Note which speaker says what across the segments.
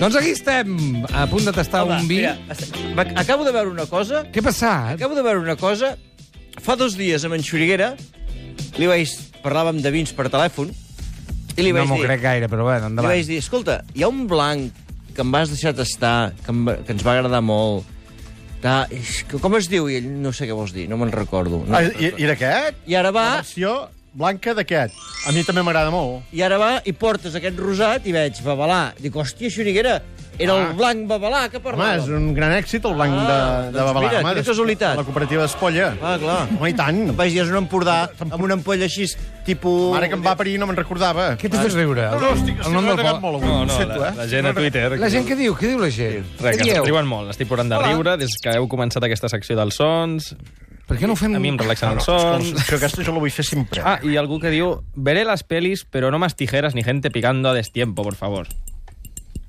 Speaker 1: Doncs aquí estem, a punt de tastar
Speaker 2: Home,
Speaker 1: un vi.
Speaker 2: mira, est- va- acabo de veure una cosa.
Speaker 1: Què ha passat?
Speaker 2: Acabo de veure una cosa. Fa dos dies, amb en Xuriguera, li vaig... Parlàvem de vins per telèfon, i li
Speaker 1: no
Speaker 2: vaig
Speaker 1: m'ho
Speaker 2: dir...
Speaker 1: crec gaire, però bé,
Speaker 2: Li
Speaker 1: endavant.
Speaker 2: vaig dir, escolta, hi ha un blanc que em vas deixar tastar, que, em, va- que ens va agradar molt. Ta, és que, com es diu? I ell, no sé què vols dir, no me'n recordo. No
Speaker 3: Ah,
Speaker 2: me'n
Speaker 3: i,
Speaker 2: recordo.
Speaker 3: I d'aquest?
Speaker 2: I ara va,
Speaker 3: La versió blanca d'aquest. A mi també m'agrada molt.
Speaker 2: i ara va, i portes aquest rosat i veig Babalà. Dic, hòstia, Xuriguera, era
Speaker 1: Ah.
Speaker 2: el blanc Babalà que
Speaker 3: Home,
Speaker 2: parlava.
Speaker 3: és un gran èxit el blanc de,
Speaker 2: Ah,
Speaker 3: de
Speaker 2: doncs
Speaker 3: Babalà.
Speaker 2: mira,
Speaker 3: Home,
Speaker 2: quina
Speaker 3: des-
Speaker 2: casualitat.
Speaker 3: La cooperativa d'Espolla.
Speaker 2: Ah, clar.
Speaker 3: Home, i tant.
Speaker 2: Vaig dir, és un Empordà, amb una ampolla així, tipus...
Speaker 3: Ara que em va parir no me'n recordava.
Speaker 1: Què t'has fet riure?
Speaker 3: No, no, estic,
Speaker 1: El
Speaker 3: estic
Speaker 1: nom del
Speaker 3: renegat
Speaker 1: poble.
Speaker 3: molt avui.
Speaker 4: No,
Speaker 3: ho
Speaker 4: no,
Speaker 3: sento,
Speaker 4: la,
Speaker 3: eh?
Speaker 4: la gent a Twitter...
Speaker 1: La gent què diu? Què diu la gent? Què
Speaker 4: Res, que es
Speaker 1: dieu?
Speaker 4: riuen molt. Estic plorant de
Speaker 1: Hola.
Speaker 4: riure des que heu començat aquesta secció dels sons.
Speaker 1: Per què no ho fem... Ah,
Speaker 4: A mi em relaxen els
Speaker 3: Doncs...
Speaker 4: sons.
Speaker 3: Això, aquesta jo la vull fer sempre.
Speaker 4: Ah, i algú que diu... Veré las pelis, pero no más tijeras ni gente picando a destiempo, por favor.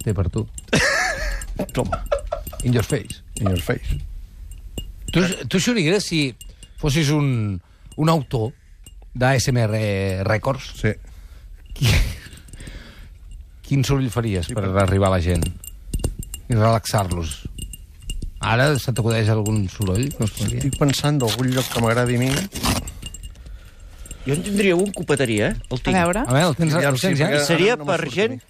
Speaker 1: Té per tu.
Speaker 3: Toma.
Speaker 1: In your face.
Speaker 3: In your face.
Speaker 1: Tu, tu Xuriguera, si fossis un, un autor d'ASMR Records,
Speaker 3: Sí.
Speaker 1: quin soroll faries per arribar a la gent i relaxar-los? Ara se t'acudeix algun soroll? No es podria?
Speaker 3: Estic pensant d'algun lloc que m'agradi a mi.
Speaker 2: Jo en tindria un que ho petaria, eh? El
Speaker 5: A
Speaker 2: tinc.
Speaker 5: veure.
Speaker 1: A veure, el tens,
Speaker 3: Aviam,
Speaker 1: el tens
Speaker 3: sí,
Speaker 1: ja?
Speaker 3: perquè-
Speaker 2: Seria
Speaker 3: Ara no me
Speaker 2: per
Speaker 3: surt a
Speaker 2: gent...
Speaker 3: mi.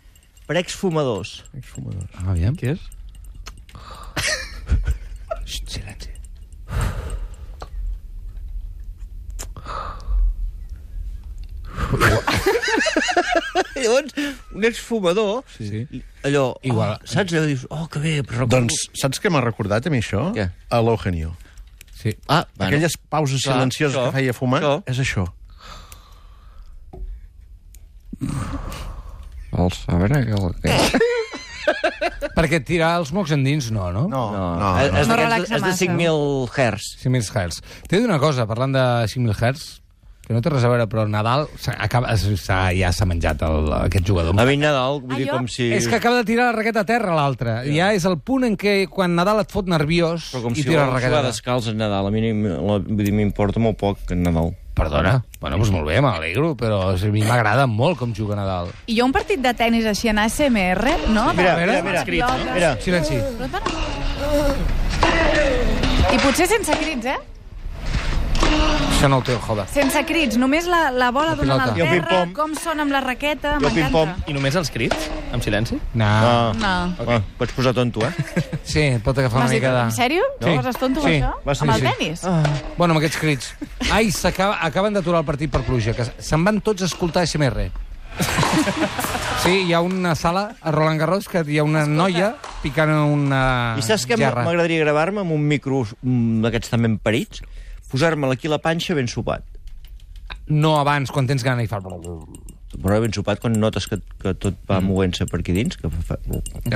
Speaker 2: Per exfumadors.
Speaker 3: Exfumador.
Speaker 1: Ah, aviam.
Speaker 4: Què és?
Speaker 1: Xxt, silenci.
Speaker 2: I Llavors, un exfumador, sí, sí. allò...
Speaker 1: Igual.
Speaker 2: Oh, saps? Allò dius, oh, que bé, però... recordo-
Speaker 3: Doncs saps què m'ha recordat a mi això?
Speaker 2: Què?
Speaker 3: A l'Eugenio.
Speaker 1: Sí.
Speaker 2: Ah, bueno.
Speaker 3: Aquelles pauses
Speaker 2: Clar,
Speaker 3: silencioses
Speaker 2: això,
Speaker 3: que feia fumar,
Speaker 2: això.
Speaker 3: és això.
Speaker 6: El saben aquel...
Speaker 1: Perquè tirar els mocs endins, no, no?
Speaker 2: No, no,
Speaker 3: no.
Speaker 2: no. És,
Speaker 5: No
Speaker 2: d'aquests-
Speaker 5: relaxa
Speaker 2: és de
Speaker 5: massa.
Speaker 2: 5.000 hertz.
Speaker 1: 5.000 hertz. T'he de dir una cosa, parlant de 5.000 hertz, que no té res a veure, però Nadal s'ha- acaba, s'ha- ja s'ha menjat el, aquest jugador.
Speaker 2: A mi Nadal, vull dir,
Speaker 5: Allò-
Speaker 2: com si...
Speaker 1: És que acaba de tirar la raqueta a terra, l'altre. Ja. ja és el punt en què, quan Nadal et fot nerviós,
Speaker 2: Però com
Speaker 1: i
Speaker 2: si
Speaker 1: tira la
Speaker 2: vols
Speaker 1: raqueta.
Speaker 2: jugar
Speaker 1: a terra.
Speaker 2: descalç a Nadal, a mi ni- la- vull dir, m'importa molt poc que Nadal.
Speaker 1: Perdona. Bueno, doncs molt bé, m'alegro, però a mi m'agrada molt com juga Nadal.
Speaker 5: I jo un partit de tennis així en ASMR, no?
Speaker 3: Mira,
Speaker 5: De-
Speaker 1: mira,
Speaker 5: les
Speaker 3: mira,
Speaker 5: pilotes.
Speaker 3: mira.
Speaker 1: Silenci.
Speaker 5: I potser sense crits, eh?
Speaker 1: Això no ho té el joder.
Speaker 5: Sense crits, només la, la bola donant al
Speaker 1: pilota.
Speaker 3: I el
Speaker 5: terra,
Speaker 3: ping-pong.
Speaker 5: com sona amb la raqueta,
Speaker 3: I el ping-pong.
Speaker 5: m'encanta.
Speaker 4: I només els crits? Amb silenci?
Speaker 1: No.
Speaker 2: Ah,
Speaker 5: No.
Speaker 2: okay. ah, pots posar tonto, eh?
Speaker 1: Sí, pot agafar
Speaker 5: M'has
Speaker 1: una
Speaker 5: dit,
Speaker 1: mica de...
Speaker 5: en sèrio? Tu
Speaker 1: Sí.
Speaker 5: poses tonto amb
Speaker 1: Sí.
Speaker 5: això?
Speaker 1: Va ser
Speaker 5: Amb el Ah,
Speaker 1: sí.
Speaker 3: Ah.
Speaker 5: tenis?
Speaker 1: Bueno, amb aquests crits. Ai, s'acaba, acaben d'aturar el partit per pluja, que se'n van tots a escoltar SMR. Sí, hi ha una sala a Roland Garros que hi ha una noia picant una
Speaker 2: I saps que
Speaker 1: Ah, gerra.
Speaker 2: m'agradaria gravar-me amb un micro mm, d'aquests també emparits, posar-me'l aquí a la panxa ben sopat.
Speaker 1: No abans, quan tens gana i fa...
Speaker 2: Però ben sopat quan notes que, que tot va movent-se per aquí dins, que fa... I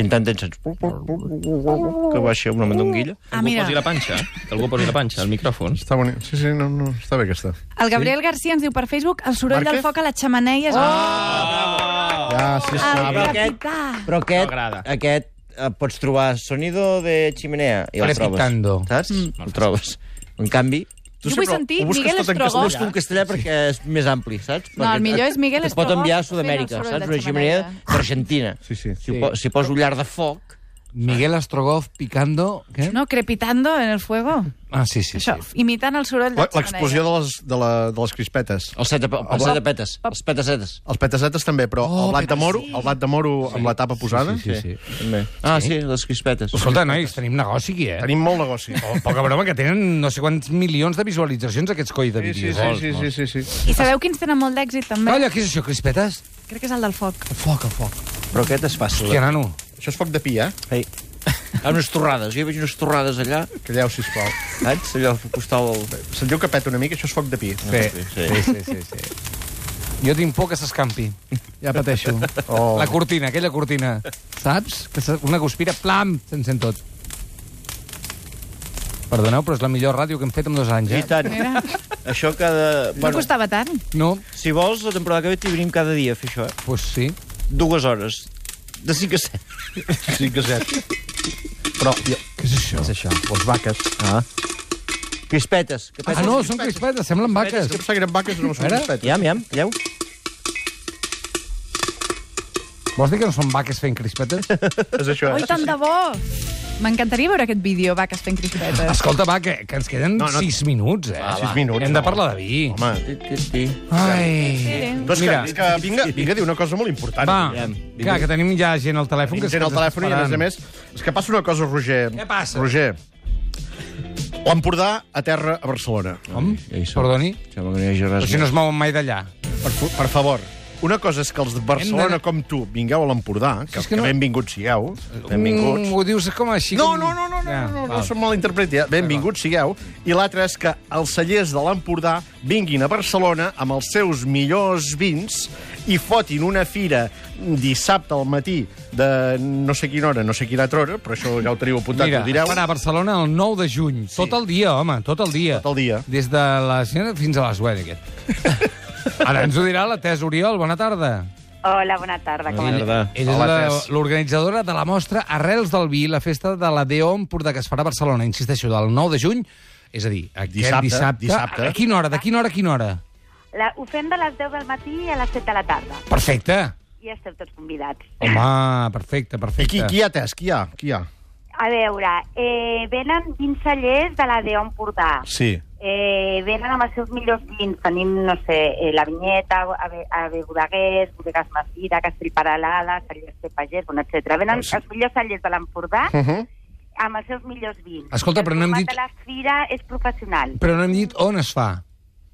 Speaker 2: en tant temps sents... Que baixa una mandonguilla.
Speaker 5: Ah,
Speaker 4: Algú
Speaker 5: mira,
Speaker 4: posi la panxa? Que algú posi la panxa, el micròfon.
Speaker 3: Està bonic. Sí, sí, no, no, està bé aquesta.
Speaker 5: el Gabriel García ens diu per Facebook el soroll
Speaker 3: Márquez?
Speaker 5: del foc a la xamaneia
Speaker 3: Ah,
Speaker 5: és...
Speaker 3: Ja, sí, sí.
Speaker 5: el
Speaker 2: però aquest-
Speaker 5: capità.
Speaker 2: Però aquest,
Speaker 4: M'agrada.
Speaker 2: aquest eh, pots trobar sonido de chimenea i el
Speaker 1: Crepitando.
Speaker 2: trobes. Saps? El trobes. En canvi,
Speaker 5: Jo vull sentir Miguel
Speaker 2: ho
Speaker 5: Estrogoff.
Speaker 2: busco en castellà perquè és més ampli, saps?
Speaker 5: No, el millor és Miguel
Speaker 2: Es pot enviar a
Speaker 5: Estrogoff
Speaker 2: Sud-amèrica,
Speaker 5: fent el soroll
Speaker 2: saps?
Speaker 5: de
Speaker 2: Una chimenea
Speaker 5: xemeneia.
Speaker 2: d'Argentina.
Speaker 3: Sí, sí.
Speaker 2: Si, ho po si poso llar de foc...
Speaker 1: Miguel Astrogoff picando... Què?
Speaker 5: No, crepitando en el fuego.
Speaker 1: Ah, sí, sí, sí.
Speaker 5: Això, imitant el soroll de
Speaker 3: La-
Speaker 5: xemeneia.
Speaker 3: L'explosió de, les, de, la, de les crispetes.
Speaker 2: Els set, de, pe- els set de petes, els petacetes.
Speaker 3: Els petacetes també, però oh, el blat de moro, el blat de moro amb la tapa posada.
Speaker 1: Sí, sí.
Speaker 2: També. Ah, sí, les crispetes.
Speaker 1: Escolta, nois, tenim negoci aquí, eh?
Speaker 3: Tenim molt negoci.
Speaker 1: Oh, Poca broma, que tenen no sé quants milions de visualitzacions aquests coi de vídeos.
Speaker 3: sí, sí, sí.
Speaker 5: I sabeu quins tenen molt d'èxit, també?
Speaker 1: Calla, què és això, crispetes?
Speaker 5: Crec que és el del foc.
Speaker 1: Foc, a foc.
Speaker 2: Però aquest és fàcil.
Speaker 1: Hòstia, nano.
Speaker 3: Això és foc de pi, eh?
Speaker 2: Ei. Hi ha unes torrades, jo hi veig unes torrades allà,
Speaker 3: Calleu, sisplau.
Speaker 2: saps? Allà al costat del...
Speaker 3: Se'n diu que peta una mica, això és foc de pi.
Speaker 1: Sí,
Speaker 2: sí.
Speaker 1: sí, sí, sí, sí. Jo tinc por que s'escampi. Ja pateixo.
Speaker 3: Oh.
Speaker 1: La cortina, aquella cortina. Saps? Que se- una guspira, plam, se'n sent tot. Perdoneu, però és la millor ràdio que hem fet en dos anys,
Speaker 2: I
Speaker 1: eh?
Speaker 2: tant.
Speaker 5: Mira,
Speaker 2: Això cada...
Speaker 5: no
Speaker 2: Bueno,
Speaker 5: costava tant.
Speaker 1: No?
Speaker 2: si vols, la temporada que ve t'hi venim cada dia a fer això, eh?
Speaker 1: Pues sí.
Speaker 2: Dues hores. De 5 a 7.
Speaker 3: Sí que és cert. Però, ja,
Speaker 1: Què és això?
Speaker 3: és això, les vaques. Ah.
Speaker 2: Crispetes. Que
Speaker 1: Ah,
Speaker 2: petes.
Speaker 1: no, són crispetes, semblen vaques.
Speaker 3: Jo pensava que eren vaques, no són
Speaker 1: Ara?
Speaker 3: crispetes.
Speaker 2: Iam, iam, calleu.
Speaker 1: Vols dir que no són vaques fent crispetes?
Speaker 3: És
Speaker 1: Ah,
Speaker 3: això, eh?
Speaker 5: Oi, tant de bo! M'encantaria veure aquest vídeo, va, que estem crispetes.
Speaker 1: Escolta, va, que, que ens queden
Speaker 3: No,
Speaker 1: no,
Speaker 3: no.
Speaker 1: no... 6 minuts, eh?
Speaker 3: Sis minuts.
Speaker 1: Hem de parlar de vi.
Speaker 3: Home,
Speaker 1: Ai...
Speaker 5: Adéu.
Speaker 3: doncs
Speaker 1: Mira.
Speaker 3: Mira. que, vinga, vinga, a dir una cosa molt important.
Speaker 1: Va,
Speaker 2: Aviam,
Speaker 1: clar, que tenim ja gent al telèfon.
Speaker 3: Tenim
Speaker 1: que
Speaker 3: gent al
Speaker 1: ens està
Speaker 3: telèfon i, a més a
Speaker 1: esperant.
Speaker 3: més, és que passa una cosa, Roger.
Speaker 1: Què passa?
Speaker 3: Roger, l'Empordà a terra a Barcelona.
Speaker 1: Com?
Speaker 2: Ja hi som.
Speaker 1: Perdoni?
Speaker 2: Sembla que no hi hagi res
Speaker 1: Però si no es mouen mai d'allà.
Speaker 3: Per, fa- per favor. Una cosa és que els de Barcelona
Speaker 1: Hem de-
Speaker 3: com tu vingueu a l'Empordà, que,
Speaker 1: és
Speaker 3: si
Speaker 1: que
Speaker 3: que,
Speaker 1: no-
Speaker 3: que benvinguts sigueu, benvinguts.
Speaker 1: Mm, ho dius com així...
Speaker 3: No,
Speaker 1: com-
Speaker 3: no, no, no, no,
Speaker 1: Ja,
Speaker 3: no, no, no
Speaker 1: val.
Speaker 3: som malinterpreti. eh? Benvinguts sigueu. I l'altre és que els cellers de l'Empordà vinguin a Barcelona amb els seus millors vins i fotin una fira dissabte al matí de no sé quina hora, no sé quina altra hora, però això ja ho teniu apuntat,
Speaker 1: Mira,
Speaker 3: ho direu.
Speaker 1: farà a Barcelona el 9 de juny. Sí. Tot el dia, home, tot el dia.
Speaker 3: Tot el dia.
Speaker 1: Des de la Siena fins a les Wediget. Ara ens ho dirà la Tess Oriol. Bona tarda.
Speaker 6: Hola, bona tarda, com
Speaker 2: Bona
Speaker 6: estàs?
Speaker 2: tarda.
Speaker 1: Ella és
Speaker 3: Hola,
Speaker 1: la-
Speaker 3: Tess.
Speaker 1: l'organitzadora de la mostra Arrels del Vi, la festa de la Déu Empordà, que es farà a Barcelona, insisteixo, del 9 de juny, és a dir, aquest
Speaker 3: Dissabte,
Speaker 1: dissabte.
Speaker 3: dissabte.
Speaker 1: A quina hora, de quina hora, a quina hora?
Speaker 6: La, ho fem de les 10 del matí a les 7 de la tarda.
Speaker 1: Perfecte.
Speaker 6: I esteu tots convidats.
Speaker 1: Home, perfecte,
Speaker 3: I
Speaker 1: perfecte.
Speaker 3: qui, qui hi ha, Tess? Qui hi ha? Qui hi ha?
Speaker 6: A veure, eh, venen 20 cellers de la Déu Empordà.
Speaker 3: Sí.
Speaker 6: Eh, venen amb els seus millors vins. Tenim, no sé, eh, la Vinyeta, Ave- Ave Bodeguers, Bodegas Masira, Castellparalada, Cellers de Pagès, bueno, etc. Venen els millors cellers de l'Empordà
Speaker 3: Uh -huh.
Speaker 6: amb els seus millors vins.
Speaker 1: Mhm. Escolta, però no hem
Speaker 6: El
Speaker 1: dit-
Speaker 6: format de la fira és professional.
Speaker 1: Però no hem dit on es fa.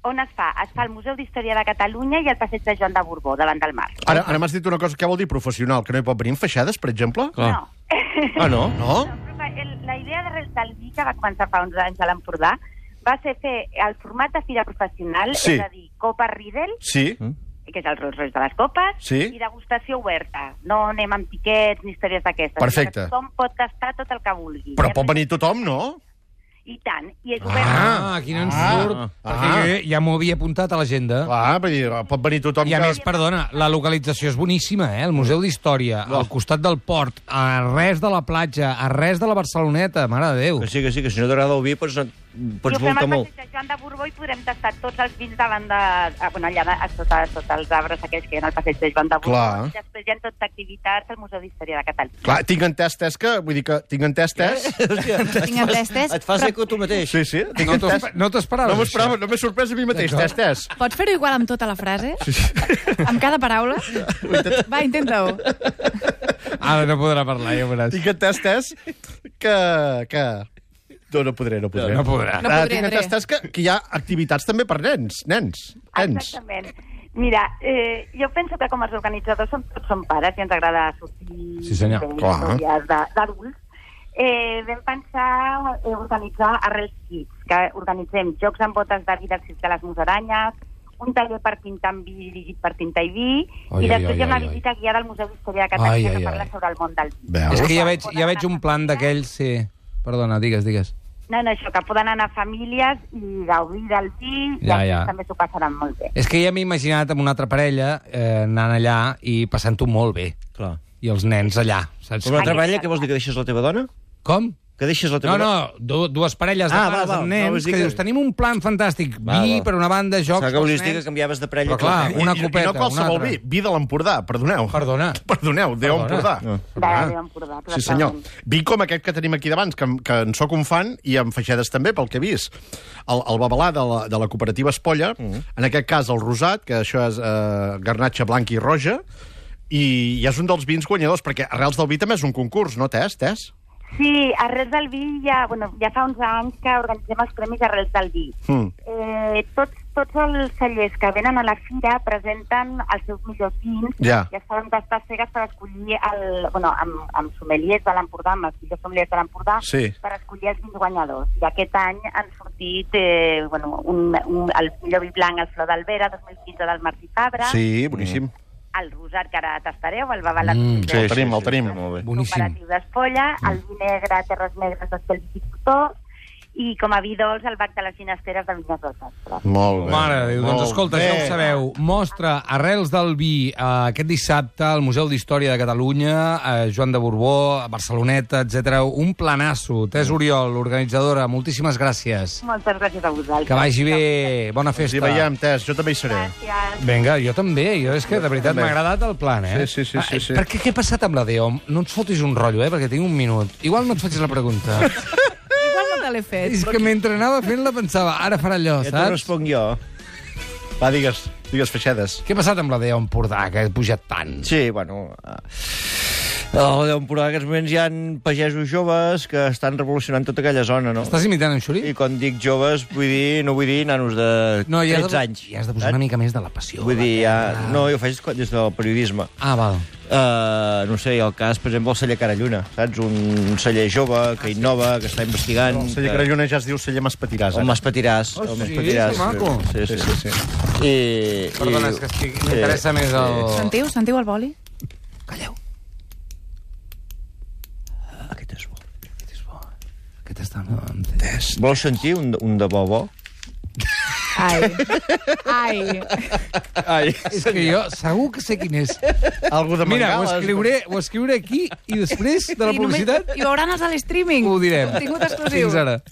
Speaker 6: On es fa? Es fa al Museu d'Història de Catalunya i al Passeig de Joan de Borbó, davant del mar.
Speaker 3: Ara, ara m'has dit una cosa, què vol dir professional? Que no hi pot venir amb feixades, per exemple?
Speaker 6: No.
Speaker 3: Ah, no? No?
Speaker 6: No, però el- La idea de, del vi que va començar fa 11 anys a l'Empordà va ser fer el format de fira professional,
Speaker 3: Sí.
Speaker 6: és a dir, copa Riedel,
Speaker 3: Sí.
Speaker 1: Mm.
Speaker 6: que és el Rolls Royce de les copes,
Speaker 3: Sí.
Speaker 6: i degustació oberta. No anem amb piquets ni històries d'aquestes.
Speaker 3: Perfecte.
Speaker 6: sinó que Tothom pot tastar tot el que vulgui.
Speaker 3: Però
Speaker 6: I
Speaker 3: pot
Speaker 6: arriba-
Speaker 3: venir doncs tothom, no?
Speaker 6: I tant, i és obert.
Speaker 1: Ah, aquí no ens surt,
Speaker 3: Ah,
Speaker 1: perquè
Speaker 3: ah.
Speaker 1: jo ja m'ho havia apuntat a l'agenda.
Speaker 3: Clar, vull dir, pot venir tothom
Speaker 1: I a
Speaker 3: que...
Speaker 1: més, perdona, la localització és boníssima, eh? El Museu d'Història, al costat del port, a res de la platja, a res de la Barceloneta, mare de Déu.
Speaker 2: Que sí, que sí, que si no t'agrada el vi pots, anar-
Speaker 6: I
Speaker 2: pots
Speaker 6: ho fem
Speaker 2: voltar
Speaker 6: al
Speaker 2: molt.
Speaker 6: Passeig de Joan de Borbó i podrem tastar tots els vins davant de... ah, Bueno, allà a sota, sota els arbres aquells que hi ha al Passeig de Joan de Borbó.
Speaker 3: Clar.
Speaker 6: I després hi ha totes activitats al Museu d'Història de Catalunya.
Speaker 3: Clar, tinc entès, Tess, que... Vull dir que tinc entès, Tess...
Speaker 2: Hòstia,
Speaker 5: Tinc entès, Tess.
Speaker 2: et fas eco tu mateix.
Speaker 3: Sí, sí, tinc
Speaker 1: No t'ho
Speaker 3: entès.
Speaker 1: espe- no t'ho esperaves,
Speaker 3: No m'ho
Speaker 1: això?
Speaker 3: esperava, no m'he sorprès a mi mateix,
Speaker 1: D'acord.
Speaker 3: Tess, Tess.
Speaker 5: Pots fer-ho igual amb tota la frase? Sí, sí. Amb cada paraula? Va, intenta-ho.
Speaker 1: Ara no podrà parlar, ja ho veuràs.
Speaker 3: Tinc entès, Tess, que... que... No, no podré, no podré.
Speaker 1: No podrà.
Speaker 5: No podré,
Speaker 3: Ah, tinc entès,
Speaker 5: Andrea.
Speaker 3: Tess, que, que hi ha activitats també per nens, nens, nens.
Speaker 6: Exactament. Mira, eh, jo penso que com els organitzadors som, tots som pares i ens agrada sortir...
Speaker 1: Sí, senyor,
Speaker 6: fer
Speaker 3: clar.
Speaker 6: històries de- D'adults. Eh, vam pensar eh, organitzar Arrels Kids, que organitzem jocs amb botes de vida al circ de les Musaranyes, un taller per pintar amb vi dirigit per tinta i vi,
Speaker 1: Ai,
Speaker 6: i
Speaker 1: ai,
Speaker 6: després hi
Speaker 1: ai,
Speaker 6: ha una
Speaker 1: ai, ai.
Speaker 6: visita guiada al Museu d'Història de
Speaker 1: Ai,
Speaker 6: Catalunya
Speaker 1: ai,
Speaker 6: que parla
Speaker 1: ai.
Speaker 6: sobre el món del vi.
Speaker 3: Veus?
Speaker 1: És que ja veig, ja veig un plan d'aquells, sí. Perdona, digues, digues.
Speaker 6: No, no, això, que poden anar famílies i gaudir del vi,
Speaker 1: Ja,
Speaker 6: i els
Speaker 1: ja.
Speaker 6: nens també s'ho passaran molt bé.
Speaker 1: És que ja m'he imaginat amb una altra parella eh, anant allà i passant-ho molt bé.
Speaker 2: Clar.
Speaker 1: I els nens allà, saps?
Speaker 2: Com la treballa, què vols dir, que deixes la teva dona?
Speaker 1: Com?
Speaker 2: Que deixes la teva
Speaker 1: No, no, du dues parelles de
Speaker 2: Ah,
Speaker 1: pares
Speaker 2: va, va,
Speaker 1: amb
Speaker 2: no,
Speaker 1: nens
Speaker 2: vols dir
Speaker 1: que
Speaker 2: que-
Speaker 1: dius, tenim un plan fantàstic,
Speaker 2: Va,
Speaker 1: vi
Speaker 2: va.
Speaker 1: per una banda, jocs...
Speaker 2: Saps que
Speaker 1: pels
Speaker 2: vols dir
Speaker 1: nens.
Speaker 2: que canviaves de parella?
Speaker 1: Però clar,
Speaker 2: que-
Speaker 1: una
Speaker 3: I-
Speaker 1: copeta,
Speaker 3: I no qualsevol
Speaker 1: una
Speaker 3: vi,
Speaker 1: altra.
Speaker 3: vi de l'Empordà, perdoneu.
Speaker 1: Perdona.
Speaker 3: Perdoneu, Déu
Speaker 1: Perdona.
Speaker 3: Empordà.
Speaker 2: No.
Speaker 1: Ah.
Speaker 6: De, de Empordà,
Speaker 3: Sí, senyor.
Speaker 6: clarament.
Speaker 3: Vi com aquest que tenim aquí davant, que, que en sóc un fan, i amb feixedes també, pel que he vist. El, el babalà de la, de la cooperativa Espolla, mm. en aquest cas el rosat, que això és eh, garnatxa blanca i roja, i, i és un dels vins guanyadors, perquè Arrels del Vi també és un concurs, no, Tess? Tess?
Speaker 6: Sí, Arrels del Vi ja, bueno, ja fa uns anys que organitzem els Premis Arrels del Vi.
Speaker 3: Mm.
Speaker 6: Eh, tots, tots els cellers que venen a la fira presenten els seus millors vins
Speaker 3: Ja.
Speaker 6: i es fan tastar cegues per escollir el, bueno, amb, amb sommeliers de l'Empordà, amb els millors sommeliers de l'Empordà,
Speaker 3: Sí.
Speaker 6: per escollir els vins guanyadors. I aquest any han sortit eh, bueno, un, un, el millor vi blanc, el Flor d'Albera, 2015 del Martí Fabra,
Speaker 3: Sí, boníssim.
Speaker 6: el Rosat, que ara tastareu, el Babalat.
Speaker 1: Mm,
Speaker 6: Rosat,
Speaker 3: Sí, Mm. el tenim, el tenim.
Speaker 2: Molt bé.
Speaker 1: Boníssim.
Speaker 6: cooperatiu d'Espolla, el vi negre, Terres Negres, d'Estel Viticultor, i com a vi dolç el bac de les finesteres de Vinyes del Sastre.
Speaker 3: Molt bé.
Speaker 1: Mare de Déu, doncs
Speaker 3: Molt
Speaker 1: escolta,
Speaker 3: bé.
Speaker 1: ja ho sabeu. Mostra Arrels del Vi eh, aquest dissabte al Museu d'Història de Catalunya, eh, Joan de Borbó, a Barceloneta, etc. Un planasso. Tes Oriol, organitzadora, moltíssimes gràcies.
Speaker 6: Moltes gràcies a vosaltres.
Speaker 1: Que vagi bé. Bona
Speaker 3: Ens
Speaker 1: festa.
Speaker 3: hi veiem, Tess, jo també hi seré.
Speaker 6: Gràcies.
Speaker 1: Vinga, jo també. Jo és que, de veritat,
Speaker 3: També.
Speaker 1: m'ha agradat el plan, eh?
Speaker 3: Sí, sí, sí, sí,
Speaker 1: Ah,
Speaker 3: sí.
Speaker 1: Per què, què ha passat amb la Déu? No ens fotis un rotllo, eh? Perquè tinc un minut. Igual no et facis la pregunta.
Speaker 5: Igual no te l'he fet.
Speaker 1: és que mentre anava fent-la pensava, ara farà allò,
Speaker 2: Ja t'ho
Speaker 1: saps?
Speaker 2: responc jo.
Speaker 3: Va, digues, digues feixedes.
Speaker 1: Què ha passat amb la Déu Empordà, que ha pujat tant?
Speaker 2: Sí, bueno... oh, eh, A la temporada en aquests moments hi ha pagesos joves que estan revolucionant tota aquella zona, no?
Speaker 1: Estàs imitant en Xuri?
Speaker 2: I quan dic joves, vull dir, no vull dir nanos de 13
Speaker 1: No, hi has, de,
Speaker 2: anys.
Speaker 1: hi has de posar una mica més de la passió.
Speaker 2: Vull dir, ja...
Speaker 1: Ah.
Speaker 2: no, jo ho faig des del periodisme.
Speaker 1: Ah, val.
Speaker 2: Uh, no sé, el cas, per exemple, el celler Caralluna, saps? Un celler jove que innova, que està investigant...
Speaker 3: El celler
Speaker 2: que-
Speaker 3: Carallona ja es diu eh? celler Maspatiràs.
Speaker 2: El Maspatiràs.
Speaker 1: Oh,
Speaker 2: el
Speaker 1: sí,
Speaker 2: Maspatiràs.
Speaker 1: que maco.
Speaker 2: Sí, sí, sí. sí. I,
Speaker 1: Perdona,
Speaker 2: i-
Speaker 1: és que estic...
Speaker 2: sí,
Speaker 1: m'interessa més el...
Speaker 5: Sentiu? Sentiu el boli?
Speaker 1: Calleu.
Speaker 2: Aquest és bo.
Speaker 1: Aquest és bo. Aquest està...
Speaker 2: Vols sentir un, un de bo bo?
Speaker 5: Ai. Ai.
Speaker 2: Ai.
Speaker 1: És que jo segur que sé quin és.
Speaker 3: Algú de
Speaker 1: Mira, ho
Speaker 3: Mangales.
Speaker 1: escriuré, ho escriuré aquí i després de la
Speaker 5: I només-
Speaker 1: publicitat
Speaker 5: I veuran els de l'streaming.
Speaker 1: ho direm.
Speaker 5: Contingut exclusiu.
Speaker 1: Fins ara.